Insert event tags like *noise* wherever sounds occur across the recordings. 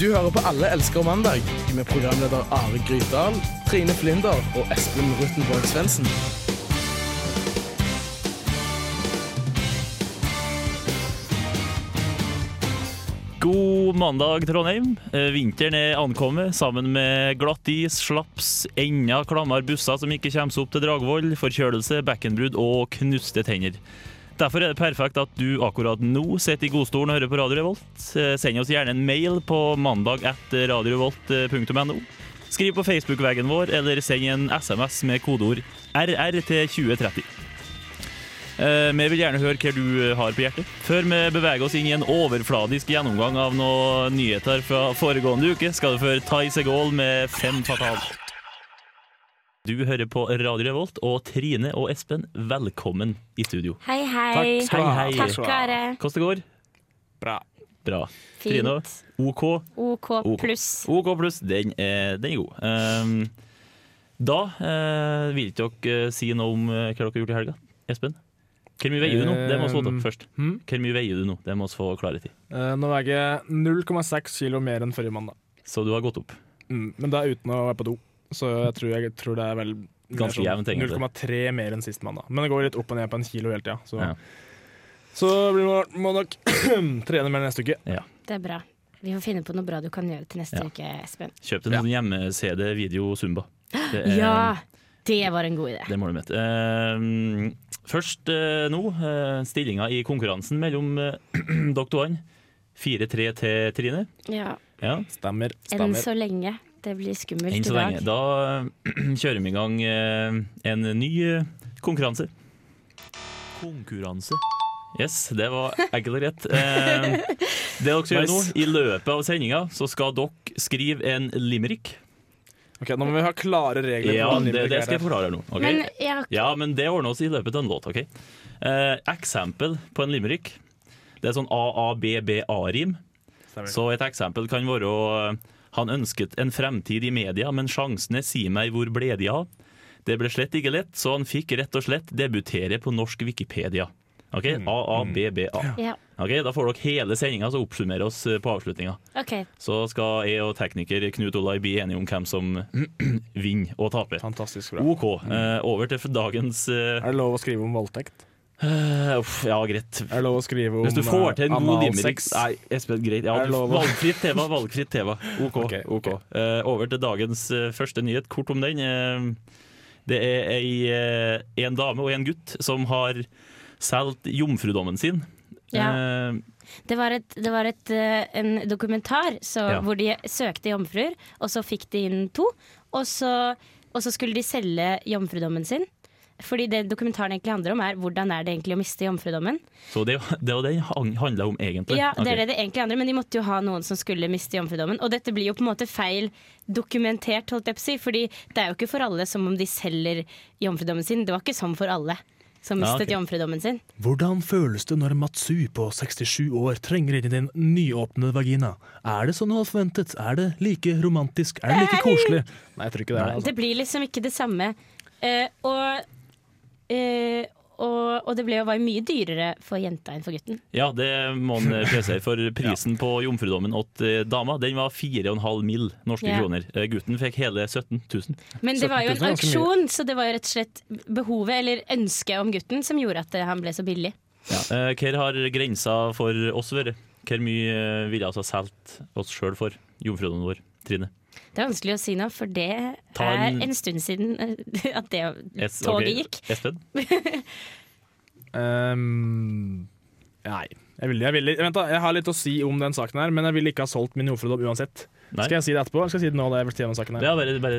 Du hører på Alle elsker mandag med programleder Are Grytdal, Trine Flinder og Espen Ruttenborg Svendsen. God mandag, Trondheim. Eh, Vinteren er ankommet, sammen med glatt is, slaps, enda klammere busser som ikke kommer seg opp til Dragvoll, forkjølelse, bekkenbrudd og knuste tenner. Derfor er det perfekt at du akkurat nå sitter i godstolen og hører på Radio Revolt. Eh, Send oss gjerne en mail på mandag etter radiorevolt.no. Skriv på Facebook-veggen vår, eller send en SMS med kodeord RR til 2030. Eh, Vi vil gjerne høre hva du eh, har på hjertet. Før vi beveger oss inn i en overfladisk gjennomgang av noen nyheter fra foregående uke, skal du føre Tai Segol med Fem fatal. Du hører på Radio Revolt, og Trine og Espen, velkommen i studio. Hei, hei. Takk skal du ha. Hei, hei. Takk, Are. Hvordan det går? Bra. Trine, Fint. OK? OK pluss. OK pluss, den er, den er god. Ehm, da eh, vil ikke dere si noe om eh, hva dere har gjort i helga. Espen? Hvor mye veier du nå? Det må vi få Ehm, opp først. hm? Hvor mye veier du nå? Det må vi få klarhet i. Eh, Nå veier jeg 0,6 kilo mer enn forrige mandag. Så du har gått opp. Mm. Men det er uten å være på do, så jeg tror, jeg tror det er vel mer Ganske sånn jevnt, egentlig. 0,3 mer enn sist mandag. Men det går litt opp og ned på en kilo hele tida. Så, Ja. så blir man, må nok *clears throat* trene mer neste uke. Det er bra. Vi får finne på noe bra du kan gjøre til neste Ja. uke, Espen. Kjøp deg en sånn hjemme-CD video Zumba. Det er- Ja! Det var en god idé. Det må du møte. Ehm, først eh, nå, eh, stillinga i konkurransen mellom eh, *clears throat* dere to. 4-3 til Trine. Ja. Ja. Stemmer. Enn stemmer. så lenge. Det blir skummelt Enn i så lenge. dag. Da *clears throat* kjører vi i gang eh, en ny eh, konkurranse. Konkurranse. Yes, det var enkelt og greit. Eh, det dere skal gjøre nå, Nice. i løpet av sendinga, så skal dere skrive en limerick. Ok, Nå må vi ha klare regler. Ja, for hva det, limerick det er skal jeg her. forklare nå. ok? Men jeg har Ja, men det ordner oss i løpet av en låt, OK? Eh, eksempel på en limerick. Det er sånn AABBA-rim. Stemmer. Så et eksempel kan være eh, Han ønsket en fremtid i media, men sjansene sier meg hvor ble de av? Det ble slett ikke lett, så han fikk rett og slett debutere på norsk Wikipedia. OK? AABBA. ja. Ok, Da får dere hele sendinga, så oppsummerer oss eh, på avslutninga. OK. Så skal jeg og tekniker Knut Olai bli enige om hvem som *clears throat* vinner og taper. Fantastisk bra. OK. eh, over til dagens eh, Er det lov å skrive om voldtekt? Eh, Uff, ja, greit. Er det lov å skrive om Hvis du får til en eh, god limerick analsex? Nei, Espen, greit. Ja, Er det du- lov å- valgfritt tema, valgfritt tema. OK. Ok, ok. ok. Eh, over til dagens eh, første nyhet. Kort om den. Eh, det er ei, eh, en dame og en gutt som har solgt jomfrudommen sin. Ja. Eh, Det var, et, det var et, eh, en dokumentar så, Ja. hvor de søkte jomfruer, og så fikk de inn to. Og så, og så skulle de selge jomfrudommen sin. Fordi det dokumentaren egentlig handler om, er hvordan er det egentlig å miste jomfrudommen. så det er jo- det er jo det den handla om, egentlig. Ja, det Ok. er det det egentlig handler om, men de måtte jo ha noen som skulle miste jomfrudommen. Og dette blir jo på en måte feil dokumentert, holdt jeg på å si, fordi det er jo ikke for alle som om de selger jomfrudommen sin. Det var ikke sånn for alle som Ja, mistet ok. jomfrudommen sin. Hvordan føles det når Matsu på 67 år trenger inn i din nyåpnede vagina? Er det som du har forventet? Er det like romantisk? Er det like koselig? Nei, jeg tror ikke det. er det, Det blir liksom ikke det samme. Eh, og, eh, og, og det ble jo var jo mye dyrere for jenta enn for gutten. Ja, det må en presisere, *laughs* for prisen på jomfrudommen til dama den var 4,5 mill. norske Ja. kroner. Eh, gutten fikk hele 17 000. Men det var jo 17 en 000 er ganske mye. auksjon, så det var jo rett og slett behovet eller ønsket om gutten som gjorde at eh, han ble så billig. Ja. eh, Hva har grensa for oss vært? Hvor mye eh, ville altså solgt oss sjøl for jomfrudommen vår? Trine. Det er vanskelig å si nå, for det Ta er en- en stund siden eh, at det Es- toget ok, gikk. Espen? altså. Ehm, nei. Jeg vil, jeg, vil, vent da, jeg har litt å si om den saken her, men jeg ville ikke ha solgt min jomfrudom uansett. Nei. Skal jeg si det etterpå? eller Skal jeg si det nå? da jeg vil si om saken her? Ja, bare, bare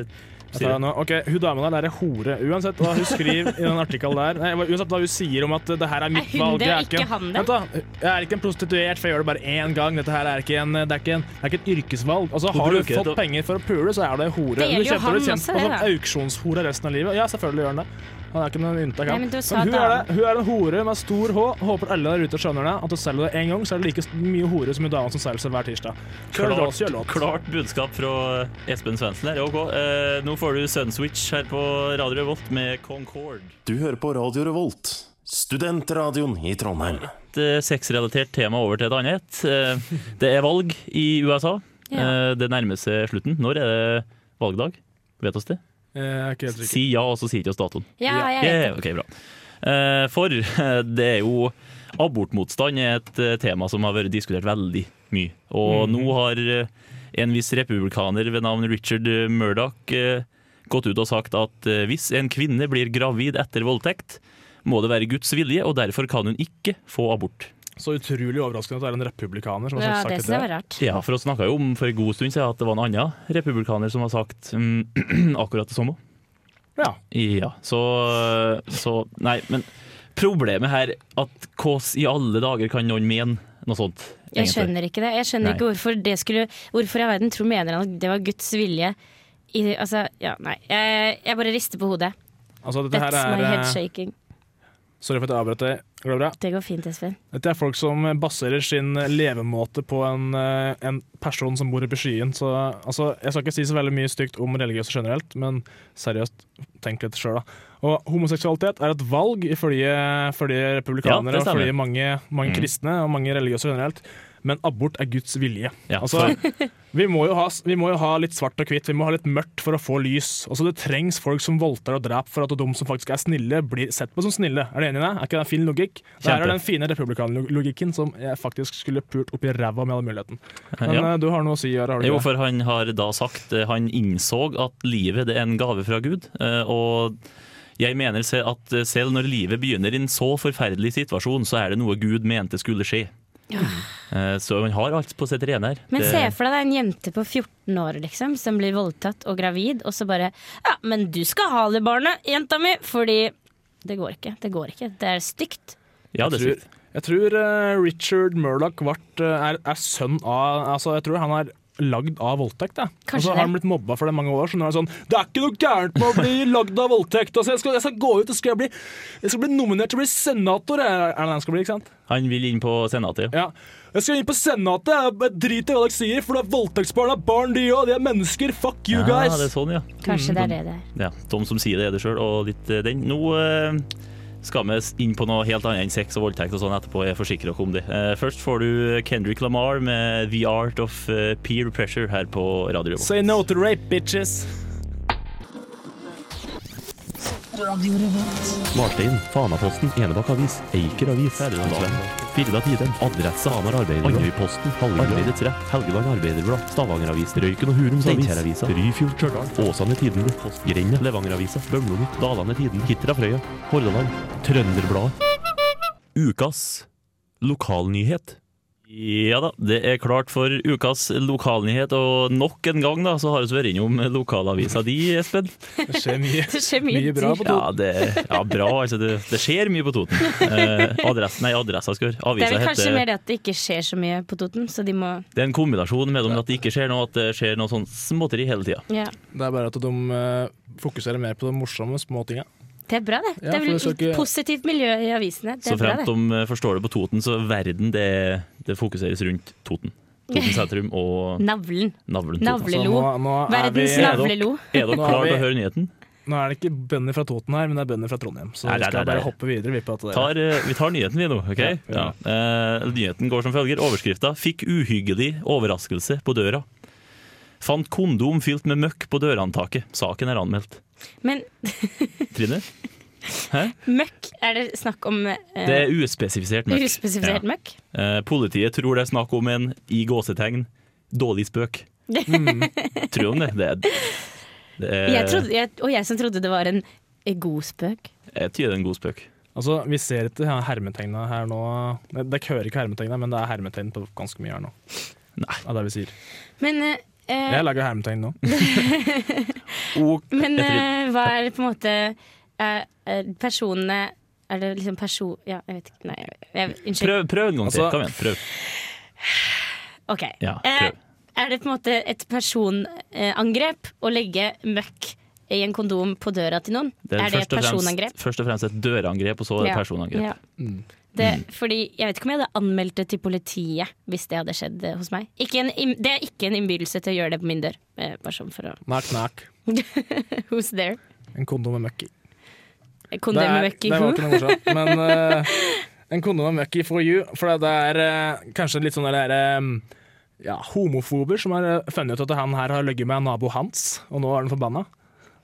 Jeg si tar det det. nå. Ok, Hun dama der er ei hore. Uansett hva hun skriver i den artikkelen der Nei, uansett hva hun sier om at det her er mitt Er hun valg det, jeg er ikke han det? Vent da, Jeg er ikke en prostituert, for jeg gjør det bare én gang. Dette her er ikke en, det, er ikke en, det er ikke et yrkesvalg. Altså, Hun Har du bruker det fått til å- penger for å pule, så er du ei hore. Det gjelder du jo kjemper- du han kjemper også, det, på som auksjonshore resten av livet. Ja, selvfølgelig gjør han det. Han er ikke noen unntak. Nei, han. men du sa hun, er dame. det, hun er en hore med stor H. Håper alle der ute skjønner det. At du selger det én gang, så er det like mye hore som hun dama som selger seg hver tirsdag. Kjør låt, kjør Klart, låt. klart budskap fra Espen Svendsen her. OK, eh, nå får du Sunswitch her på Radio Revolt med Concord. Du hører på Radio Revolt, studentradioen i Trondheim. Et eh, sexrelatert tema over til et annet. Eh, Det er valg i USA. Ja. Eh, Det nærmer seg slutten. Når er det valgdag? Vet oss det? Eh, Jeg er ikke helt sikker. Si ja, og så sier ikke oss datoen. Ja, jeg vet Yeah, ok, bra. Eh, For eh, det er jo Abortmotstand er et eh, tema som har vært diskutert veldig mye. Og Mhm. nå har eh, en viss republikaner ved navn Richard Murdoch eh, gått ut og sagt at eh, hvis en kvinne blir gravid etter voldtekt, må det være Guds vilje, og derfor kan hun ikke få abort. Så utrolig overraskende at det er en republikaner som har Ja, sagt det det. synes jeg var rart. Ja, for vi snakka jo om for en god stund siden at det var en annen republikaner som har sagt mm, *clears throat* akkurat det samme. Ja. Ja, så, så Nei, men problemet her at hvordan i alle dager kan noen mene noe sånt? Jeg egentlig? skjønner ikke det. Jeg skjønner Nei. ikke hvorfor det skulle Hvorfor i all verden tror mener han at det var Guds vilje? I, altså, ja, nei. Jeg, jeg bare rister på hodet. Altså, dette her That's my er head eh, shaking. Sorry for at jeg avbrøt deg. Går det bra? Det går fint, Espen. Dette er folk som baserer sin eh, levemåte på en, eh, en person som bor i beskyen. Så, altså, jeg skal ikke si så veldig mye stygt om religiøse generelt, men seriøst, tenk litt sjøl, da. Og homoseksualitet er et valg ifølge ifølge Ja, republikanere det og stemmer. ifølge mange, mange Mm. kristne og mange religiøse generelt. Men abort er Guds vilje. Ja, Altså, vi, må jo ha, vi må jo ha litt svart og hvitt, vi må ha litt mørkt for å få lys. Altså, det trengs folk som voldtar og dreper for at de som faktisk er snille, blir sett på som snille. Er du enig i det? Er ikke det en fin logikk? Det her Kjempe. er den fine republikanerlogikken som jeg faktisk skulle pult opp i ræva med all muligheten. Men ja. eh, du har noe å si, Yara, har du Jo, ikke? for han har da sagt eh, Han innså at livet det er en gave fra Gud. eh, Og jeg mener se- at eh, selv når livet begynner i en så forferdelig situasjon, så er det noe Gud mente skulle skje. Eh, Så han har alt på sitt rene her. Men Det- se for deg det er en jente på 14 år liksom, som blir voldtatt og gravid, og så bare Ja, men du skal ha det barnet, jenta mi! Fordi det går ikke. Det går ikke. Det er stygt. Ja, det er Jeg sykt. tror, jeg tror eh, Richard Murdoch vart, eh, er, er sønn av altså, Jeg tror han er lagd av voldtekt. Jeg. Kanskje Og så det. har han blitt mobba for det i mange år, så nå er det sånn Det er ikke noe gærent med å bli *laughs* lagd av voldtekt! Altså, jeg, skal, jeg skal gå ut og skal jeg bli, jeg skal bli nominert til å bli senator! Er er det det han skal bli, ikke sant? Han vil inn på senatet. Ja. Jeg skal inn på senatet! jeg- Jeg driter i hva dere sier, for det er voldtektsbarn det er barn, de òg! De er mennesker! Fuck you, Ja, det guys! er sånn, ja. Kanskje det er det det er. ja. De som sier det, er det sjøl, og litt eh, den. Nå eh, skal vi inn på noe helt annet enn sex og voldtekt og sånn etterpå, jeg forsikrer dere om det. Eh, først får du Kendrick Lamar med The Art of eh, Peer Pressure her på Radio Revolt. Say no to rape, bitches! Marstein, Fanaposten, Enebakk Avis, Eiker Avis, Firda Tiden, Adresse Hamar Arbeiderblad, Andøyposten, Arbeidets Rett, Helgeland Arbeiderblad, Stavanger Avis, Røyken og Hurums Avis, Steinkjer-avisa, Ryfjord Stjørdal, Åsane Tidende, Grenda, Levanger-avisa, Bømlo Nytt, Dalane Tiden, Hitra Frøya, Hordaland, Trønderbladet. Ukas lokalnyhet. Ja da, det er klart for ukas lokalnyhet, og nok en gang da, så har vi vært innom lokalavisa di, Espen. Det skjer mye, Det skjer mye, mye bra på to. Ja, det, ja bra, altså. Det, det skjer mye på Toten. Eh, adressen, nei, adressa skal jeg høre. Det Avisa er vel kanskje heter mer det at det ikke skjer så mye på Toten, så de må Det er en kombinasjon mellom at det ikke skjer noe, at det skjer noe sånn småtteri hele tida. Ja. Det er bare at de eh, fokuserer mer på de morsomme småtinga. Det er bra, det. Ja, det er for vel det skal et ikke- positivt miljø i avisene. Det Så er bra, fremt det. de eh, forstår det på Toten, så verden det, det fokuseres rundt Toten. Toten sentrum og Navlen. navlen Toten. Navlelo. nå, er vi, Verdens navlelo. Er dere Nå har klare til vi- å høre nyheten? nå er det ikke bønder fra Toten her, men det er bønder fra Trondheim. Så Nei, vi nei, skal nei, bare nei. hoppe videre. Vi på at det Tar, eh, vi tar nyheten vi nå, OK? Ja, vi Ja. gjør Eh, nyheten går som følger. Overskrifta 'Fikk uhyggelig overraskelse på døra'. Fant kondom fylt med møkk på dørhåndtaket. Saken er anmeldt. Men Trine? møkk, er det snakk om eh, Det er uspesifisert møkk. uspesifisert Ja. møkk? Eh, Politiet tror det er snakk om en, i gåsetegn, dårlig spøk. *laughs* Tror du om det? Det er, det er Mm. Jeg trodde, jeg, og jeg som trodde det var en en god spøk. jeg tyder en god spøk. altså, vi ser ikke her- hermetegna her nå. Nei, Dere hører ikke hermetegna, men det er hermetegn på ganske mye her nå. Nei. Av det vi sier. Men, eh, eh, Jeg lager hermetegn nå. men jeg tror- eh, hva er det på en måte eh, eh, Personene Er det liksom person... Ja, jeg vet ikke. Nei, jeg, jeg, unnskyld. Prøv, prøv en gang til. Altså- Kom igjen. Prøv. Ok. Ja, Eh, prøv. er det på en måte et personangrep å legge møkk i en kondom på døra til noen? er det et først og personangrep? Fremst, først og fremst et dørangrep, og så et Ja. personangrep. Mm. Ja. Mm. Det, fordi Jeg vet ikke om jeg hadde anmeldt det til politiet hvis det hadde skjedd eh, hos meg. Ikke en, im- det er ikke en innbydelse til å gjøre det på min dør. Eh, Bare sånn for å Knak, knak. *laughs* Who's there? En kondom med møkk i. Det, Kondom er, med det møkk i var who? ikke noe morsomt. *laughs* Men eh, en kondom med møkk i for you. For det er eh, kanskje litt sånn der eh, ja, homofober som har eh, funnet ut at han her har ligget med en nabo hans, og nå er han forbanna.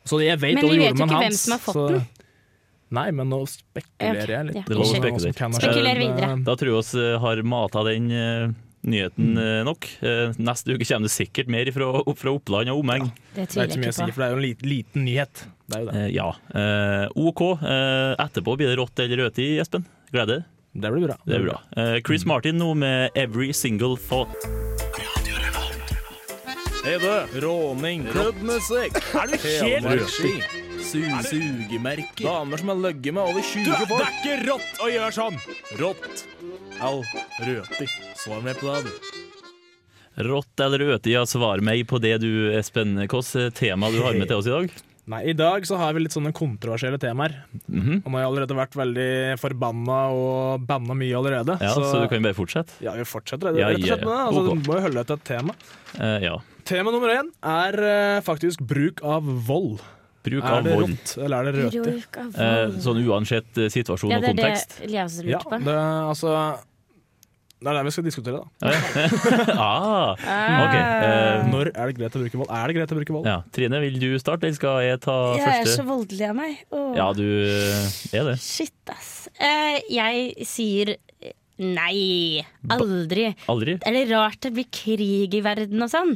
Så jeg vet Men hva vi vet jo jordmenn ikke hvem hans, som har fått så- den. Nei, men nå spekulerer jeg Ja, litt. Det er lov å på hva spekulere. som kan ha skjedd. Spekuler videre. Da tror jeg oss eh, har mata den eh, nyheten eh, nok. Eh, Neste uke kommer det sikkert mer fra, fra Oppland og omegn. Det Det er tviler ikke så jeg ikke mye å si, på. for det er jo en liten, liten nyhet. Det er jo det. Eh, Ja. Eh, OK. Eh, Etterpå blir det rått eller rødt i, Espen. Gleder deg. Det blir bra. Det er bra. Eh, Chris Mm. Martin nå med 'Every Single Thought'. Hei du, råning, klubbmusikk, Er det helmarkski, sugemerker, damer som har løgget med over 20 folk. Det er ikke rått å gjøre sånn! Rått. Al. Røti. Svar meg på det, du. Rått eller rødt i, ja, svar meg på det du, Espen. Hvilket tema du har med til oss i dag? Nei, I dag så har vi litt sånne kontroversielle temaer. Og nå har jeg allerede vært veldig forbanna og banna mye allerede. Ja, så du kan bare fortsette. ja, vi fortsetter rett Ja, rett og slett med det. ja, ja. Altså, Ok. Du må jo holde deg til et tema. Eh, Ja. Tema nummer én er eh, faktisk bruk av vold. Bruk Er av det vold. rått, eller er det rødt? Bruk av Eh, vold. Sånn uansett eh, situasjon Ja, og det er det kontekst. *laughs* jeg også Ja, lurte på. det, altså, det er det vi skal diskutere, da. Ah, ok. Ah. Eh, Når er det greit å bruke vold? Er det greit å bruke vold? ja. Trine, vil du starte, eller skal jeg ta Jeg er så første? voldelig av meg. Åh. Ja, du eh, er det. Shit, ass. Eh, jeg sier eh, nei. Aldri. Aldri. Er det rart det blir krig i verden og sånn?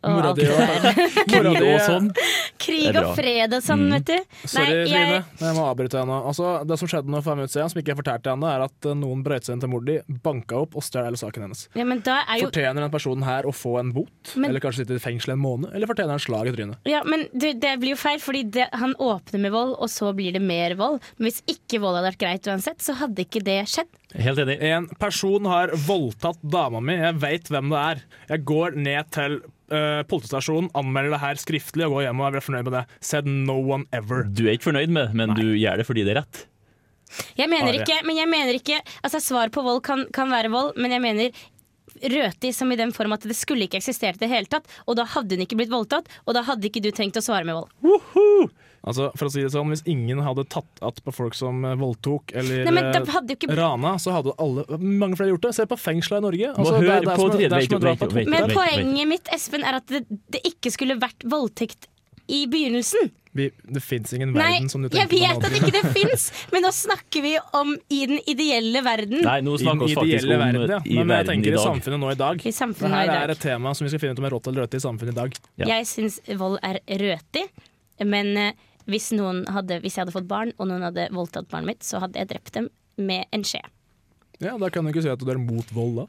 Og Mora alt di det og- der. Mora Krig di- og sånn. *laughs* Krig Det er og bra. fred og sånn, vet du. Sorry, Nei, Trine. jeg- Jeg må avbryte deg nå. Altså, det som skjedde nå for fem minutter siden, som ikke jeg fortalte henne, er at eh, noen brøyt seg inn til mor di, banka opp og stjal hele saken hennes. Ja, men da er jo Fortjener den personen her å få en bot, Men- eller kanskje sitte i fengsel en måned, eller fortjener han slag i trynet? Ja, men du, det blir jo feil, fordi det, han åpner med vold, og så blir det mer vold. Men hvis ikke vold hadde vært greit uansett, så hadde ikke det skjedd. Helt enig. En person har voldtatt dama mi, jeg veit hvem det er. Jeg går ned til eh, politistasjonen, anmelder det her skriftlig og går hjem og jeg blir fornøyd med det. Said no one ever. Du er ikke fornøyd med, men du gjør det fordi det er rett. Jeg mener Are. ikke, men jeg mener ikke Altså, svar på vold kan, kan være vold, men jeg mener Røti som i den form at det skulle ikke eksistert i det hele tatt, og da hadde hun ikke blitt voldtatt, og da hadde ikke du trengt å svare med vold. Altså, for å si det sånn, Hvis ingen hadde tatt att på folk som eh, voldtok eller Nei, men da eh, hadde jo ikke rana, så hadde alle, mange flere gjort det. Se på fengsla i Norge. Altså, Må det er- høre det er på som- det er Trine. som å Vent, dra vent, på et vent, hotell. Men vent. poenget mitt Espen, er at det, det ikke skulle vært voldtekt i begynnelsen. Vi- Det fins ingen Nei, verden som du jeg tenker på vet at ikke det fins, men nå snakker vi om i den ideelle verden. Nei, nå I den snakker vi faktisk ideelle om eh, verden, ja. i Men jeg verden tenker i i dag. samfunnet nå i dag. I samfunnet Det her i dag. er et tema som vi skal finne ut om er rått eller rødt i samfunnet i dag. Ja. Jeg syns vold er røtig, men eh, hvis, noen hadde, hvis jeg hadde fått barn, og noen hadde voldtatt barnet mitt, så hadde jeg drept dem med en skje. Ja, Da kan du ikke si at du er mot vold, da.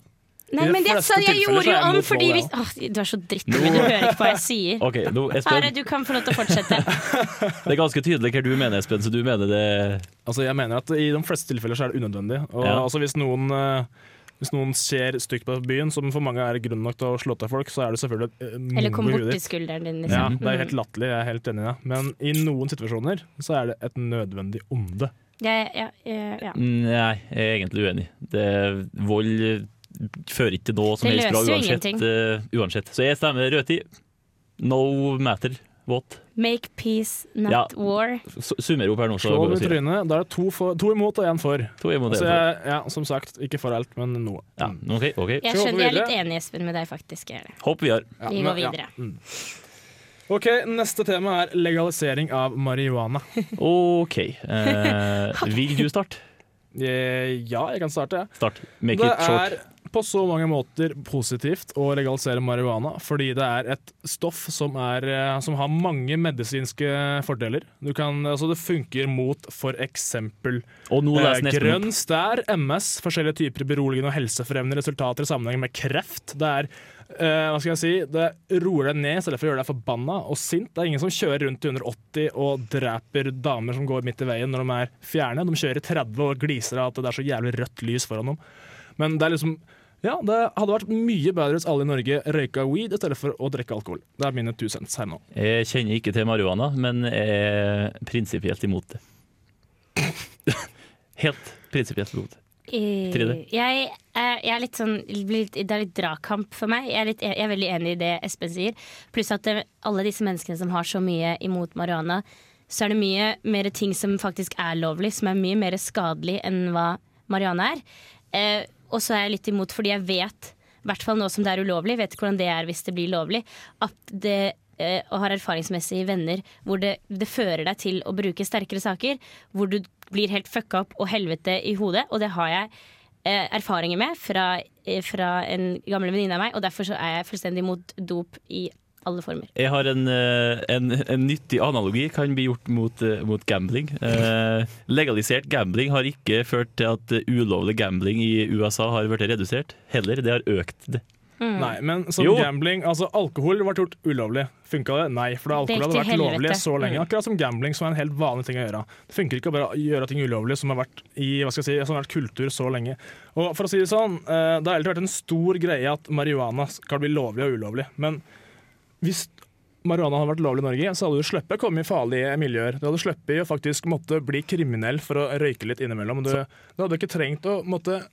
Nei, I de men det fleste sa jeg tilfeller så gjorde er jo jeg om mot fordi vold, hvis ja. Åh, Du er så drittungen, du hører ikke hva jeg *laughs* sier. OK, nå, Espen. Are, du kan få lov til å fortsette. Det er ganske tydelig hva du mener, Espen, så du mener det Altså, jeg mener at I de fleste tilfeller så er det unødvendig. Og Ja. altså, hvis noen... eh, hvis noen ser stygt på byen, som for mange er grunn nok til å slå til folk, så er det selvfølgelig et eh, Eller kom mongo i huet borti ditt. skulderen din, Ja, liksom. det er helt latterlig, jeg er helt enig i det. Men i noen situasjoner så er det et nødvendig onde. Jeg, ja, eh, ja. Mm. Mm, Nei, jeg er egentlig uenig. Det, vold eh, fører ikke til noe som Det helst bra løser jo uansett. eh, uansett. Så jeg stemmer rødt i. No matter what. Make peace, Ja. not war. S summer opp her nå, så Slå går vi over i og sier det. trynet. Da er det to, for, to imot og én for. To imot Så en, jeg, ja, som sagt, ikke for alt, men noe. Ja, OK. ok. Jeg Skal vi skjønner, jeg er hoppe litt enig, Espen, med deg, faktisk. jeg er det. Hopp videre. Ja, Vi men- går videre. Ja. Mm. OK, neste tema er legalisering av marihuana. OK. *laughs* Eh, vil du starte? Eh, Ja, jeg kan starte, jeg. Start. Make Det it short. er på så mange måter positivt å legalisere marihuana, fordi det er et stoff som, er, eh, som har mange medisinske fordeler. Du kan, altså det funker mot for eksempel Og nå eh, leser Espen opp. grønn stær, MS, forskjellige typer beroligende og helsefremmende resultater i sammenheng med kreft. Det er eh, hva skal jeg si, det roer deg ned i stedet for å gjøre deg forbanna og sint. Det er ingen som kjører rundt i 180 og dreper damer som går midt i veien når de er fjerne. De kjører i 30 og gliser av at det er så jævlig rødt lys foran dem. Men det er liksom ja, det hadde vært mye bedre hvis alle i Norge røyka weed i stedet for å drikke alkohol. Det er mine 1000 cents her nå. Jeg kjenner ikke til marihuana, men er prinsipielt imot det. *laughs* Helt prinsipielt imot det. Mm. Eh, Trine? Jeg, er- jeg er litt sånn blir litt- Det er litt dragkamp for meg. Jeg er, litt, jeg er veldig enig i det Espen sier. Pluss at det, alle disse menneskene som har så mye imot marihuana, så er det mye mer ting som faktisk er lovlig, som er mye mer skadelig enn hva marihuana er. Eh, og så er jeg litt imot fordi jeg vet I hvert fall nå som det er ulovlig. Vet ikke hvordan det er hvis det blir lovlig. At det eh, og har erfaringsmessige venner hvor det, det fører deg til å bruke sterkere saker. Hvor du blir helt fucka opp og helvete i hodet. Og det har jeg eh, erfaringer med fra, eh, fra en gammel venninne av meg, og derfor så er jeg fullstendig imot dop i alle former. Jeg har en, eh, en, en nyttig analogi kan bli gjort mot, eh, mot gambling. Eh, legalisert gambling har ikke ført til at eh, ulovlig gambling i USA har blitt redusert. Heller, det har økt det. Mm. Nei, men som Jo. gambling, altså alkohol ble gjort ulovlig. Funka det? Nei, for Det gikk alkohol hadde vært til lovlig helvete. så lenge. Mm. Akkurat som gambling, som er en helt vanlig ting å gjøre. Det funker ikke å bare gjøre ting ulovlig som har vært i hva skal jeg si, som har vært kultur så lenge. Og for å si Det sånn, eh, det har alltid vært en stor greie at marihuana skal bli lovlig og ulovlig. Men hvis marihuana hadde vært lovlig i Norge, så hadde du sluppet å komme i farlige miljøer. Du hadde sluppet å faktisk måtte bli kriminell for å røyke litt innimellom. Du, du hadde ikke trengt å måtte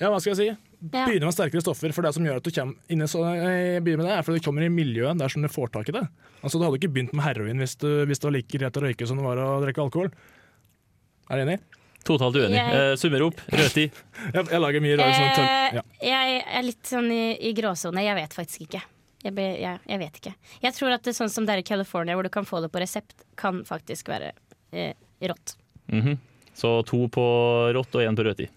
Ja, hva skal jeg si? Ja. Begynne med sterkere stoffer, for det som gjør at du kommer inn i så, jeg begynner med det, er fordi du kommer i miljøet der som du får tak i det. Altså, Du hadde ikke begynt med heroin hvis, du, hvis det var like greit å røyke som det var å drikke alkohol. Er du enig? Totalt uenig. Jeg- Eh, summer opp. Rødtid. Jeg, jeg lager mye rare sånne tøll- Eh, sånn ja. jeg er litt sånn i, i gråsone. Jeg vet faktisk ikke. Jeg, be, jeg, jeg vet ikke. Jeg tror at det er sånn som det er i California, hvor du kan få det på resept, kan faktisk være eh, rått. Mhm. Så to på rått og én på rødtid.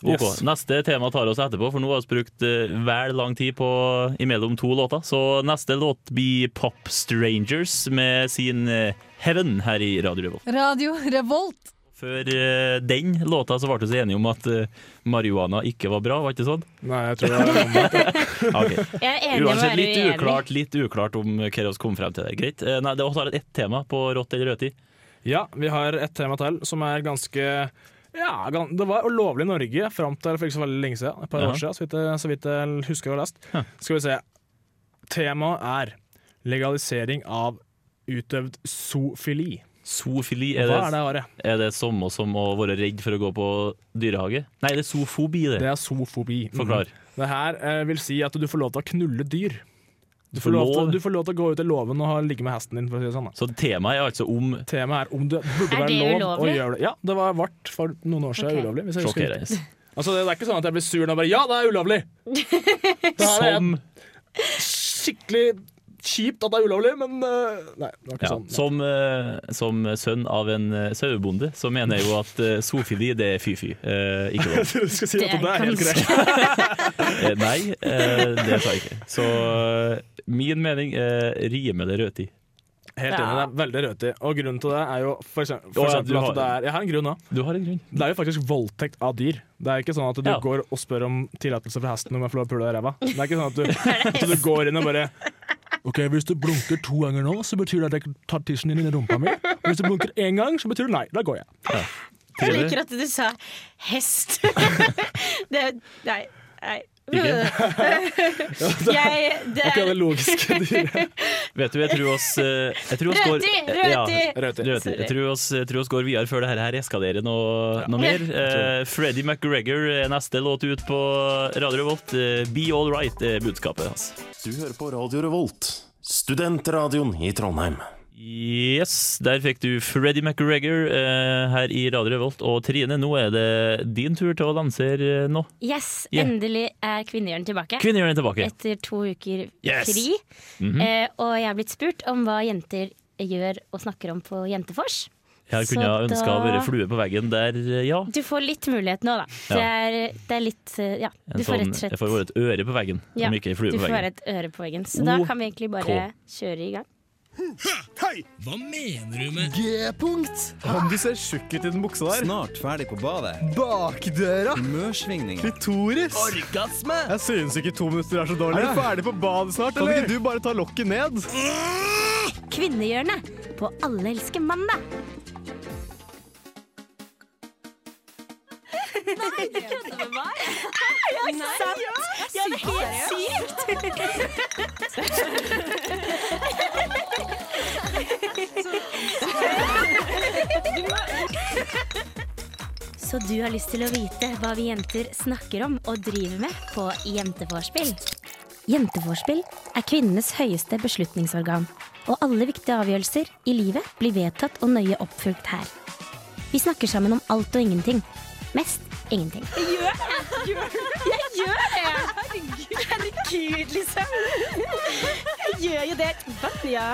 Ok, Yes. Neste tema tar oss etterpå, for nå har vi brukt eh, vel lang tid på imellom to låter. Så neste låt blir Pop Strangers med sin eh, Heaven her i Radio Revolt. Radio Revolt. Før eh, den låta så ble vi så enige om at eh, marihuana ikke var bra, var ikke sånn? Nei, jeg tror det *laughs* er omvendt. Ja, ok. Jeg er enig med å Uansett, være litt uenig. uklart, litt uklart om hva vi kom frem til der. Greit. Eh, Nei, det var ett tema på rått eller rødtid. Ja, vi har et tema til som er ganske ja, gan- Det var ulovlig i Norge fram til for ikke så veldig lenge siden. Et par Ja. år siden, så vidt, jeg- så vidt jeg husker å ha lest. Skal vi se. Temaet er legalisering av utøvd zoofili. Zoofili, er Hva det, er det, Are? er det samme som å være redd for å gå på dyrehage? Nei, det er zoofobi, det. Det er zoofobi. Mm. Forklar. Det her eh, vil si at du får lov til å knulle dyr. Du får får, lov lov. til, du får lov til å gå ut i låven og ha- ligge med hesten din. for å si det sånn. da. Så temaet er altså om Temaet er om det burde Er være det lov å ulovlig? gjøre det. Ja, det var vart for noen år siden Ok. ulovlig. Hvis jeg husker riktig. sjokkerende. Altså, det er ikke sånn at jeg blir sur nå og bare Ja, det er ulovlig! *laughs* Det her er Som, skikkelig kjipt at det er ulovlig, men eh, Nei, det var ikke ja, sånn. *laughs* som, eh, som sønn av en eh, sauebonde, så mener jeg jo at eh, zoofili, det er fy-fy. Eh, ikke *laughs* lov. Du skal si Det at det er er helt greit. Eh, Nei, eh, det sa jeg ikke. Så eh, min mening eh, rimer det rødtid. Helt enig, det er veldig rødtid. Og grunnen til det er jo for eksempel, Å, for ja, eksempel du har- at det er Jeg har en grunn òg. Du har en grunn. Det er jo faktisk voldtekt av dyr. Det er ikke sånn at du Ja. går og spør om tillatelse fra hesten om jeg får lov til å pule deg i ræva. Det er ikke sånn *laughs* at du, at du går inn og bare Ok, Hvis du blunker to ganger nå, så betyr det at jeg tar tissen din i rumpa mi. Og Hvis du blunker én gang, så betyr det nei. Da går jeg. *laughs* Jeg liker at du sa hest. *laughs* det, nei, nei. *laughs* jeg, det Ikke er det *laughs* logiske dyret. Vet du, jeg tror oss eh, jeg tror oss går- Rødtid, eh, ja, rødtid. Rødtid. rødtid. Jeg tror oss, jeg tror oss går videre før det her her eskalerer noe, noe mer. Eh, Freddie McGregor er neste låt ut på Radio Revolt. Eh, Be all right er budskapet hans. Du hører på Radio Revolt, studentradioen i Trondheim. Yes, der fikk du Freddie McGregor eh, her i Radio Revolt. Og Trine, nå er det din tur til å lansere eh, nå. Yes, Yeah. endelig er kvinnehjørnet tilbake. Kvinnehjørnet er tilbake. etter to uker Yes. Mhm. fri. eh, og jeg er blitt spurt om hva jenter gjør og snakker om på Jentefors. Jeg Så kunne ha ønska å da- være flue på veggen der, eh, ja. Du får litt mulighet nå, da. Ja. Det, er, det er litt eh, Ja, En du får rett sånn, og slett jeg får være et øre på veggen, Ja, om ikke en flue Du på får veggen. være et øre på veggen. Så da kan vi egentlig bare kjøre i gang. Hva mener du med G-punkt. Du ser tjukk ut i den buksa der. Snart ferdig på badet. Bakdøra. Mørsvingninger. Klitoris. Orgasme! Jeg synes ikke to minutter er så dårlig. Er Er det? du ferdig på badet snart, Kan eller? ikke du bare ta lokket ned? Kvinnehjørnet på Alle elsker mandag. Så du har lyst til å vite hva vi jenter snakker om og driver med på Jenteforspill? Jenteforspill er kvinnenes høyeste beslutningsorgan, og alle viktige avgjørelser i livet blir vedtatt og nøye oppfulgt her. Vi snakker sammen om alt og ingenting. Mest ingenting. Gjør jeg? Gjør jeg? gjør det! studert Batnia.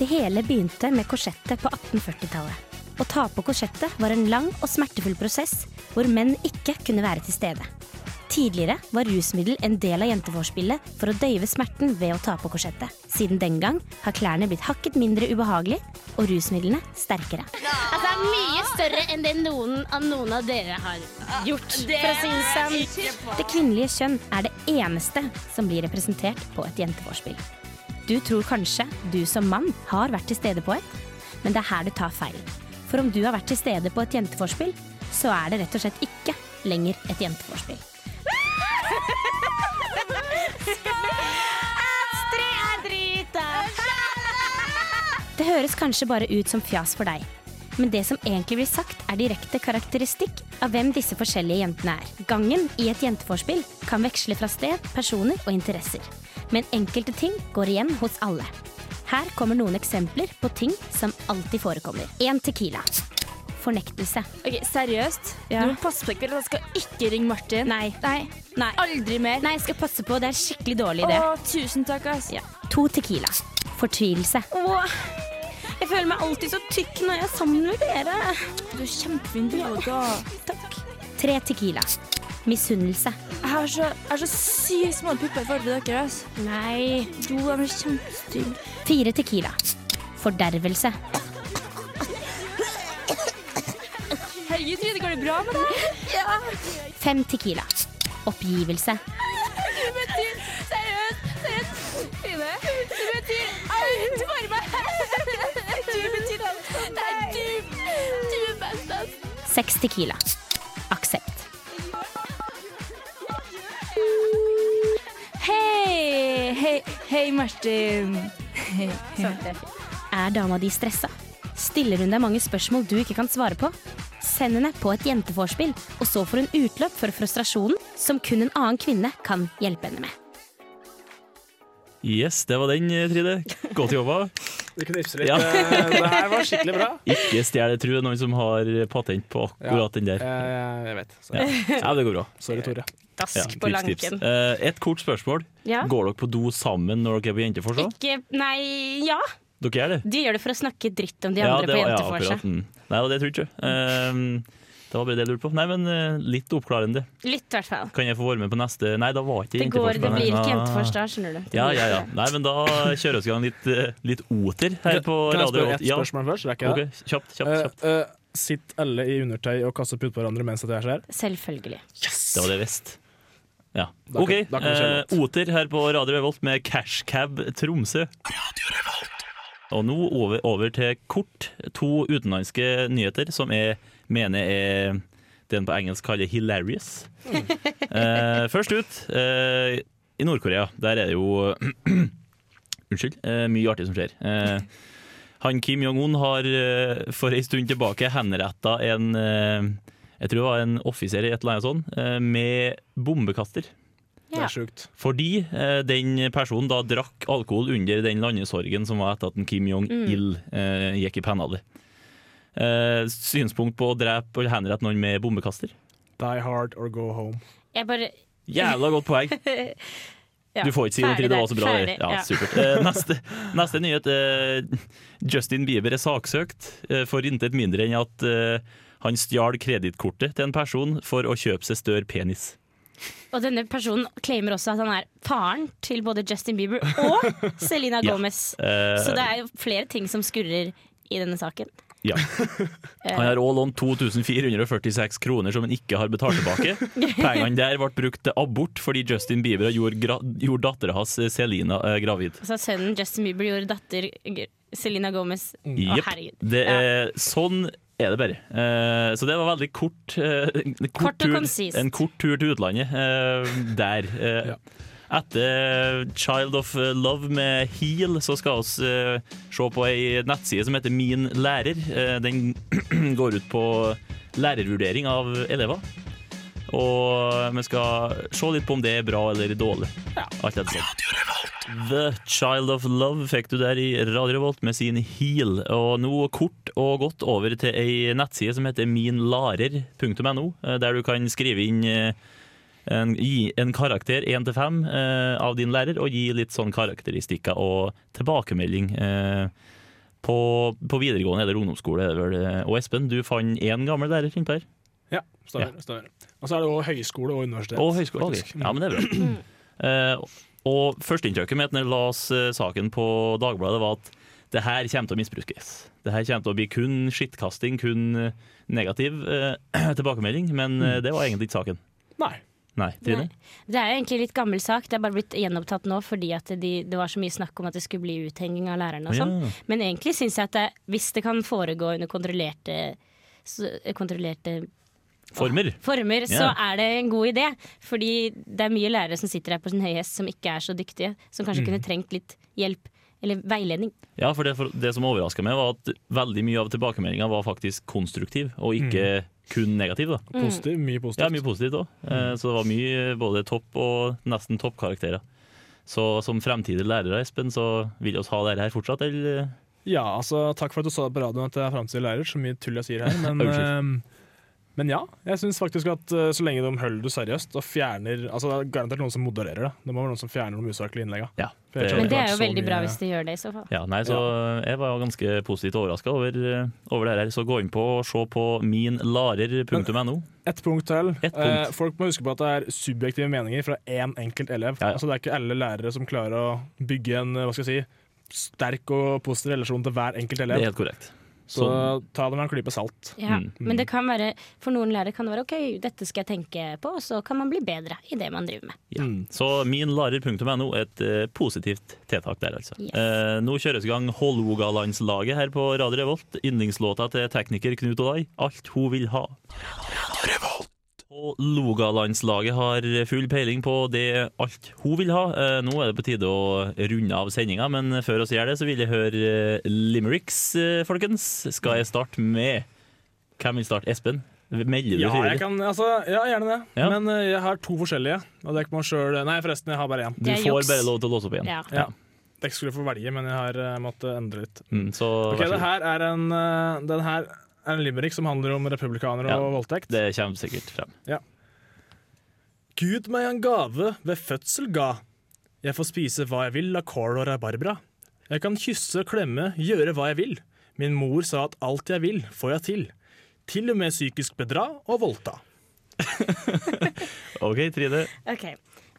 Det hele begynte med korsettet på 1840-tallet. Å ta på korsettet var en lang og smertefull prosess hvor menn ikke kunne være til stede. Tidligere var rusmiddel en del av jenteforspillet for å døyve smerten ved å ta på korsettet. Siden den gang har klærne blitt hakket mindre ubehagelig og rusmidlene sterkere. Altså, det er mye større enn det noen av noen av dere har gjort. for å si det sånn. Det kvinnelige kjønn er det eneste som blir representert på et jenteforspill. Du tror kanskje du som mann har vært til stede på et, men det er her du tar feil. For om du har vært til stede på et jenteforspill, så er det rett og slett ikke lenger et jenteforspill. Astrid er drita! Det høres kanskje bare ut som fjas for deg, men det som egentlig blir sagt, er direkte karakteristikk av hvem disse forskjellige jentene er. Gangen i et jenteforspill kan veksle fra sted, personer og interesser, men enkelte ting går igjen hos alle. Her kommer noen eksempler på ting som alltid forekommer. En tequila. Fornektelse. Ok, Seriøst? Ja. Du må passe på deg, for jeg skal ikke ringe Martin. Nei. Nei. Nei. Aldri mer. Nei, jeg skal passe på. Det er en skikkelig dårlig idé. Å, tusen takk, ass. Ja. To tequila. Fortvilelse. Åh, jeg føler meg alltid så tykk når jeg er sammen med dere. Du er kjempefin biologa. Takk. Tre tequila. Misunnelse. Jeg har så, jeg har så sykt små pupper i forhold til dere. ass. Nei. Jo, jeg blir kjempestygg. Fire tequila. Fordervelse. Herregud, Trine, går det bra med deg? Ja. Fem tequila. Oppgivelse. Det betyr seriøst, seriøst, Trine. Det betyr alt for meg. Du betyr alt for meg. Det er du. Du er best, ass. Seks tequila. Aksept. Hei, hei, hei, Martin. Er dama di stressa? Stiller hun deg mange spørsmål du ikke kan svare på? Send henne på et jenteforspill, og så får hun utløp for frustrasjonen som kun en annen kvinne kan hjelpe henne med. Yes, det var den, eh, Trine. Godt *laughs* jobba. Det knipser litt. Ja. Eh, Det her var skikkelig bra. *laughs* Ikke stjel, jeg tror det er noen som har eh, patent på akkurat den der. Eh, Jeg vet. Ja, *laughs* ja det går bra. Sorry, Tore. Ja, Dask på tips, tips. lanken. Eh, et kort spørsmål. Ja. Går dere på do sammen når dere er på Jenteforsa? Ikke Nei, ja. Dere gjør det? De gjør det for å snakke dritt om de Ja, andre det på var- ja, jenteforsa. akkurat. Mm. Nei, det var det jeg trodde ikke. Ehm, det var bare det jeg lurte på. Nei, men eh, litt oppklarende. Litt, i hvert fall. Kan jeg få være med på neste Nei, da var ikke Det Jenteforsa. går, det Nei. blir ikke Ah. jentefors da, skjønner du. Det Ja, ja, blir ja. ikke det. Nei, men da kjører vi i gang litt, eh, litt oter her på Kan jeg radio. spørre Åt- ett Ja, spørsmål først? Rekker jeg det? ok, kjapt, kjapt, kjapt. Eh, eh, Sitter alle i undertøy og kaster putt på hverandre mens dette her skjer? Selvfølgelig. Det var det jeg visste. Ja. Da kan- OK. da kan vi kjøre eh, Oter her på Radio Revolt med Cashcab Tromsø. Og nå over, over til kort to utenlandske nyheter som jeg mener er det en på engelsk kaller *laughs* 'hilarious'. Eh, først ut, eh, i Nord-Korea. Der er det jo *clears throat* Unnskyld. eh, mye artig som skjer. Eh, han Kim Jong-un har eh, for en stund tilbake henretta en eh, jeg tror det var en offiser i et eller annet sånt, eh, med bombekaster. Det Ja. er sjukt. Fordi eh, den personen da drakk alkohol under den landesorgen som var etter at en Kim Jong-il eh, gikk i pennalet. Eh, synspunkt på å drepe og henrette noen med bombekaster? Die hard or go home. Jeg bare Jævla godt poeng! *laughs* ja. Du får ikke si det, Ferdig Trine. Det var der. så bra. det. Ferdig, Ja, ja. supert. Eh, neste, neste nyhet. Eh, Justin Bieber er saksøkt eh, for intet mindre enn at eh, han stjal kredittkortet til en person for å kjøpe seg større penis. Og denne personen claimer også at han er faren til både Justin Bieber *laughs* og Selena Ja. Gomez. Eh, Så det er jo flere ting som skurrer i denne saken. Ja. Han har òg lånt 2446 kroner som han ikke har betalt tilbake. Pengene der ble brukt til abort fordi Justin Bieber gjorde, gra- gjorde dattera hans eh, Selena eh, gravid. Altså sønnen Justin Bieber gjorde datter G- Selena Gomez. Mm. Å, Jepp. herregud. Det er- Sånn er det bare. Eh, Så det var veldig kort, eh, kort Kort og tur, konsist. En kort tur til utlandet eh, der. Eh, Etter eh, Child of Love med Heal så skal vi eh, se på ei nettside som heter Min lærer. Eh, Den *clears throat* går ut på lærervurdering av elever. Og vi skal se litt på om det er bra eller dårlig. Alt etter sånn. The Child of Love fikk du der i Radio Revolt med sin heal. Og nå kort og godt over til ei nettside som heter minlarer.no, eh, der du kan skrive inn eh, en, gi en karakter 1 til 5 eh, av din lærer, og gi litt sånn karakteristikker og tilbakemelding. eh, på, på videregående eller ungdomsskole. er det vel. Og Espen, du fant én gammel lærer innpå her. Ja, stemmer. stemmer. Og så er det også høyskole og universitet. Og høyskole. faktisk. Mm. ok. Ja, men det er bra. Eh, og førsteinntrykket mitt når jeg leste saken på Dagbladet, var at det her kommer til å misbrukes. Det her kommer til å bli kun skittkasting, kun eh, negativ eh, *clears throat* tilbakemelding. Men eh, det var egentlig ikke saken. Mm. Nei. Nei, Trine? Det er jo egentlig litt gammel sak, det er bare blitt gjenopptatt nå fordi at de, det var så mye snakk om at det skulle bli uthenging av lærerne og Ja. sånn. Men egentlig syns jeg at det, hvis det kan foregå under kontrollerte, s- kontrollerte Former. former, så Ja. er det en god idé. Fordi det er mye lærere som sitter her på sin høye hest som ikke er så dyktige, som kanskje Mm. kunne trengt litt hjelp eller veiledning. Ja, for det, for det som overraska meg, var at veldig mye av tilbakemeldinga var faktisk konstruktiv, og Mm. ikke kun negativ. da. Positiv, mye positivt. Ja, mye positivt òg. Så det var mye eh, både topp og nesten toppkarakterer. Så som fremtidige lærere, Espen, så vil vi ha dere her fortsatt, eller? Ja, altså takk for at du sa på radioen at jeg er framtidig lærer, så mye tull jeg sier *laughs* her. Men, Unnskyld. eh, men ja, jeg syns faktisk at eh, så lenge de holder det seriøst og fjerner Altså det er garantert noen som modererer det. Det må være noen som fjerner de usaklige innleggene. Ja, For jeg tror Men det har er jo vært så veldig bra mye- hvis de gjør det, i så fall. Ja, nei, så jeg var jo ganske positivt overraska over, eh, over det her. Så gå inn på og se på minlarer.no. Ett punkt til. punkt. Eh, folk må huske på at det er subjektive meninger fra én enkelt elev. Altså Det er ikke alle lærere som klarer å bygge en eh, hva skal jeg si, sterk og positiv relasjon til hver enkelt Det elev. er sånn. helt korrekt. Så, ta det med en klype salt. Ja, Men det kan være, for noen lærere kan det være OK, dette skal jeg tenke på, og så kan man bli bedre i det man driver med. Ja. Mm. Så minlarer.no er et eh, positivt tiltak der, altså. Yes. Eh, nå kjøres i gang Hålogalandslaget her på Radio Revolt. Yndlingslåta til tekniker Knut Olai, 'Alt hun vil ha'. Og Logalandslaget har full peiling på det alt hun vil ha. Eh, Nå er det på tide å runde av sendinga, men før oss gjør det, så vil jeg høre eh, limericks, eh, folkens. Skal jeg starte med Hvem vil starte? Espen? Melder du Ja, jeg frivillig? kan, altså, ja, gjerne det. Ja. Men eh, jeg har to forskjellige. Og det må selv, nei, forresten, jeg har bare én. Du får bare lov til å låse opp igjen. Ja. Dere skulle få velge, men jeg har eh, måttet endre litt. Mm, så Ok, vær så god. det her er en, eh, Den her er en limerick som handler om republikanere Ja. og voldtekt. Det kommer sikkert frem. Ja. Gud meg en gave ved fødsel ga. Jeg får spise hva jeg vil av kål og rabarbra. Jeg kan kysse, klemme, gjøre hva jeg vil. Min mor sa at alt jeg vil, får jeg til. Til og med psykisk bedra og voldta. OK, Trine. Ok.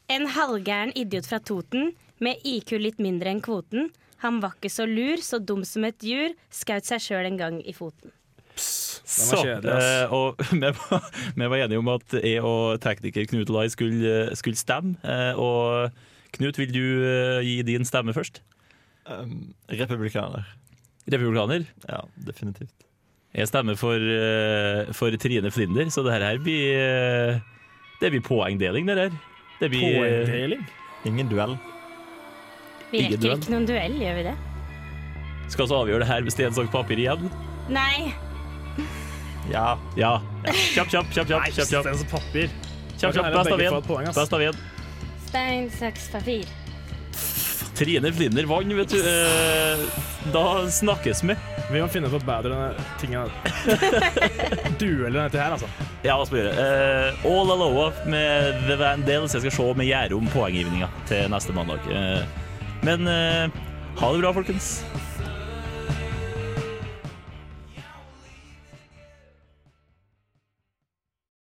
En halvgæren idiot fra Toten, med IQ litt mindre enn kvoten. Han var ikke så lur, så dum som et djur, skaut seg sjøl en gang i foten. Så, kjedelig, ass. eh, og *laughs* vi var, vi var enige om at jeg og tekniker Knut Lai skulle, skulle stemme. eh, Og Knut, vil du eh, gi din stemme først? Ehm, republikaner. Republikaner? Ja, definitivt. Jeg stemmer for, eh, for Trine Flinder, så det her blir eh, Det blir poengdeling, det her. Det blir, Poengdeling? Ingen duell. Vi Ingen rekker duell. ikke noen duell, gjør vi det? Skal vi avgjøre det her med sten, saks, papir igjen? Nei. Ja. ja. Kjapp, kjapp, kjapp. kjapp, kjapp, kjapp. Sten, papir. Kjapp, Da kan kjapp, dere best av begge én. få et poeng, ass. Best av én. Stein, saks, papir. Trine Flinder vant, vet du. Eh, Da snakkes vi. Vi må finne på bedre ting enn *laughs* duellen dette her, altså. Ja, hva skal vi gjøre? Eh, All Aloha med The Vandales. Jeg skal se om jeg gjør om poenggivninga til neste mandag. Eh, men eh, ha det bra, folkens.